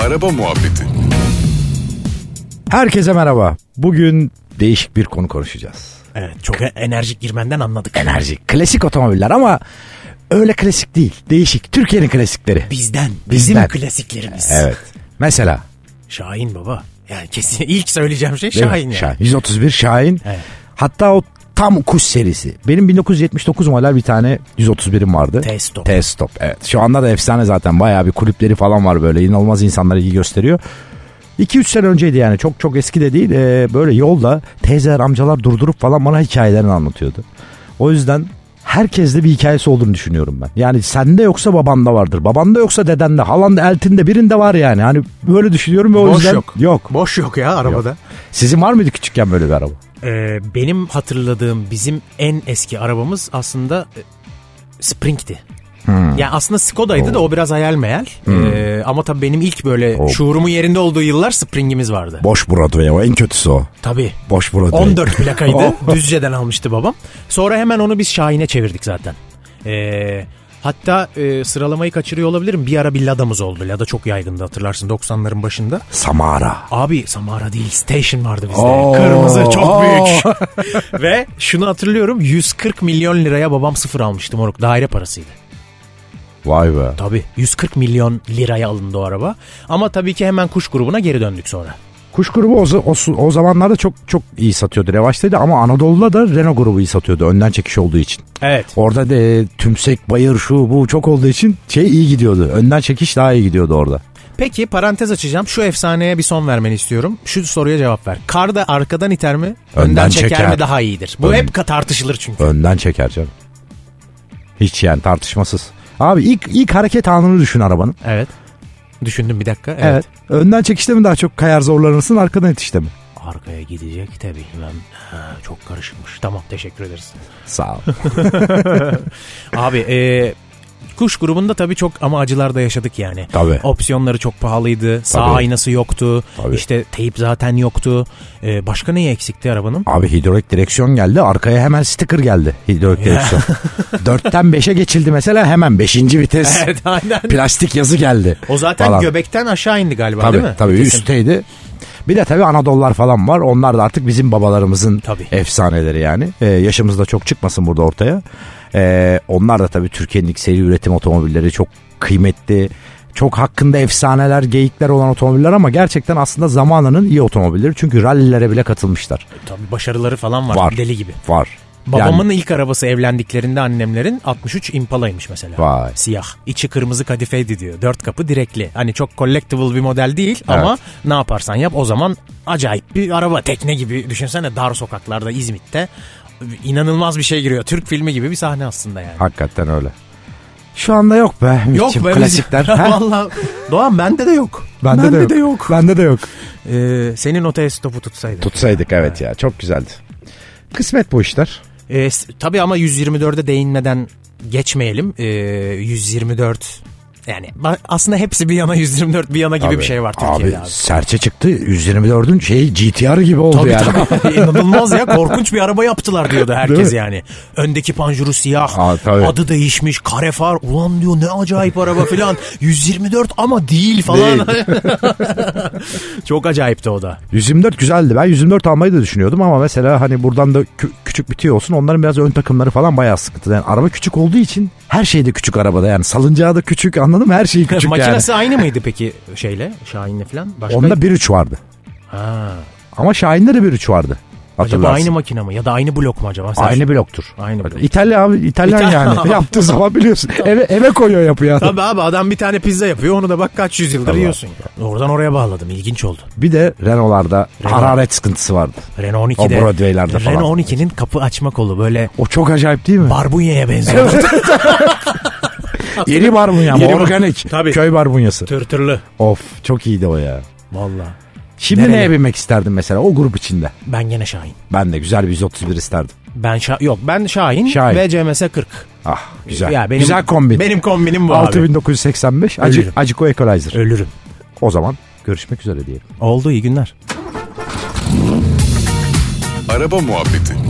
Araba Muhabbeti Herkese merhaba. Bugün değişik bir konu konuşacağız. Evet çok e- enerjik girmenden anladık. Enerji, klasik otomobiller ama öyle klasik değil. Değişik. Türkiye'nin klasikleri. Bizden. Bizim Bizden. klasiklerimiz. Evet. Mesela. Şahin baba. Yani kesin ilk söyleyeceğim şey değil mi? Şahin yani. 131 Şahin. Evet. Hatta o tam kuş serisi. Benim 1979 model bir tane 131'im vardı. T-Stop. T-Stop evet. Şu anda da efsane zaten. Bayağı bir kulüpleri falan var böyle. İnanılmaz insanlara ilgi gösteriyor. 2-3 sene önceydi yani çok çok eski de değil. Ee, böyle yolda teyzeler amcalar durdurup falan bana hikayelerini anlatıyordu. O yüzden herkeste bir hikayesi olduğunu düşünüyorum ben. Yani sende yoksa babanda vardır. Babanda yoksa dedende, halanda, eltinde birinde var yani. Hani böyle düşünüyorum ve o Boş yüzden yok. yok. Boş yok ya arabada. Sizin var mıydı küçükken böyle bir araba? Ee, benim hatırladığım bizim en eski arabamız aslında e, Spring'ti. Hmm. Yani aslında Skoda'ydı da o biraz hayal meyal. Ee, ama tabii benim ilk böyle Oo. şuurumun yerinde olduğu yıllar Spring'imiz vardı. Boş Broadway o en kötüsü o. Tabii. Boş Broadway. 14 plakaydı. Düzce'den almıştı babam. Sonra hemen onu biz Şahin'e çevirdik zaten. Ee, hatta e, sıralamayı kaçırıyor olabilirim. Bir ara bir Lada'mız oldu. Lada çok yaygındı hatırlarsın 90'ların başında. Samara. Abi Samara değil Station vardı bizde. Oo, Kırmızı çok oo. büyük. Ve şunu hatırlıyorum 140 milyon liraya babam sıfır almıştı moruk. Daire parasıydı. Vay be. Tabii 140 milyon liraya alındı o araba. Ama tabii ki hemen kuş grubuna geri döndük sonra. Kuş grubu o, o, o zamanlarda çok çok iyi satıyordu. Revaçtaydı ama Anadolu'da da Renault grubu iyi satıyordu. Önden çekiş olduğu için. Evet. Orada da tümsek, bayır, şu bu çok olduğu için şey iyi gidiyordu. Önden çekiş daha iyi gidiyordu orada. Peki parantez açacağım. Şu efsaneye bir son vermeni istiyorum. Şu soruya cevap ver. Kar da arkadan iter mi? Önden, Önden çeker, çeker. mi daha iyidir? Bu Ön- hep ka- tartışılır çünkü. Önden çeker canım. Hiç yani tartışmasız. Abi ilk ilk hareket anını düşün arabanın. Evet. Düşündüm bir dakika. Evet. Evet. Önden çekişte mi daha çok kayar zorlanırsın arkadan itişte mi? Arkaya gidecek tabii. Ben ha, çok karışıkmış. Tamam teşekkür ederiz. Sağ ol. Abi e, kuş grubunda tabii çok ama acılar da yaşadık yani. Tabii. Opsiyonları çok pahalıydı. Sağ Tabii. aynası yoktu. Tabii. İşte teyip zaten yoktu. E, başka neyi eksikti arabanın? Abi hidrolik direksiyon geldi arkaya hemen sticker geldi hidrolik direksiyon. Dörtten beşe geçildi mesela hemen beşinci vites evet aynen. plastik yazı geldi. O zaten falan. göbekten aşağı indi galiba Tabii değil mi? tabii Vitesin. üstteydi. Bir de tabii Anadolular falan var. Onlar da artık bizim babalarımızın Tabii. efsaneleri yani. Ee, yaşımız da çok çıkmasın burada ortaya. Ee, onlar da tabii Türkiye'nin ilk seri üretim otomobilleri çok kıymetli. Çok hakkında efsaneler, geyikler olan otomobiller ama gerçekten aslında zamanının iyi otomobilleri. Çünkü rallilere bile katılmışlar. Tabii başarıları falan var, Var. deli gibi. Var. Babamın ilk arabası evlendiklerinde annemlerin 63 Impala'ymış mesela. Vay. Siyah. içi kırmızı kadifeydi diyor. Dört kapı direkli. Hani çok collectible bir model değil ama ne yaparsan yap o zaman acayip bir araba. Tekne gibi düşünsene dar sokaklarda İzmit'te inanılmaz bir şey giriyor. Türk filmi gibi bir sahne aslında yani. Hakikaten öyle. Şu anda yok be. Yok Ümit'ciğim, be klasikler. Ha? Valla Doğan bende de yok. Bende, de, yok. Bende de yok. Ee, senin o testopu tutsaydı. Tutsaydık evet ya. Çok güzeldi. Kısmet bu işler. Ee, s- tabii ama 124'e değinmeden geçmeyelim. Ee, 124 yani ba- aslında hepsi bir yana 124 bir yana gibi bir şey var Türkiye'de abi. Abi serçe çıktı. 124'ün şey GTR gibi oldu Tabii yani. tabii inanılmaz ya korkunç bir araba yaptılar diyordu Değil herkes mi? yani. Öndeki panjuru siyah, Aa, tabii. adı değişmiş, kare far. Ulan diyor ne acayip araba filan. 124 ama değil falan. Çok acayipti o da. 124 güzeldi. Ben 124 almayı da düşünüyordum ama mesela hani buradan da kü- küçük bir tüy olsun. Onların biraz ön takımları falan bayağı sıkıntı. Yani araba küçük olduğu için her şey de küçük arabada. Yani salıncağı da küçük anladın mı? Her şeyi küçük yani. Makinesi aynı mıydı peki şeyle Şahin'le filan? Başka... Onda 1.3 vardı. Ha. Ama Şahin'de de 1.3 vardı. Acaba Hatırlarsın. aynı makine mi ya da aynı blok mu acaba? Sen- Aynı bloktur. Aynı blok. İtalya abi İtalyan İtalyan. yani. Yaptığı zaman biliyorsun. Eve, eve koyuyor yapıyor adam. Tabii abi adam bir tane pizza yapıyor onu da bak kaç yüzyıldır Tabii. yiyorsun ya. Oradan oraya bağladım ilginç oldu. Bir de Renault'larda Renault. hararet sıkıntısı vardı. Renault O 12'de. Broadway'lerde falan. Renault 12'nin kapı açma kolu böyle O çok acayip değil mi? barbunyaya benziyor. Yeni barbunya ama Yeni bar- organik. Tabii. Köy barbunyası. Tırtırlı. Of çok iyiydi o ya. Valla. Şimdi Nereli? neye binmek isterdin mesela o grup içinde? Ben gene Şahin. Ben de güzel bir 131 isterdim. Ben Şa yok ben Şahin, Şahin. ve CMS 40. Ah güzel. Ya benim- güzel kombin. Benim kombinim bu abi. 6985 acı, Ölürüm. Aciko Equalizer. Ölürüm. O zaman görüşmek üzere diyelim. Oldu iyi günler. Araba Muhabbeti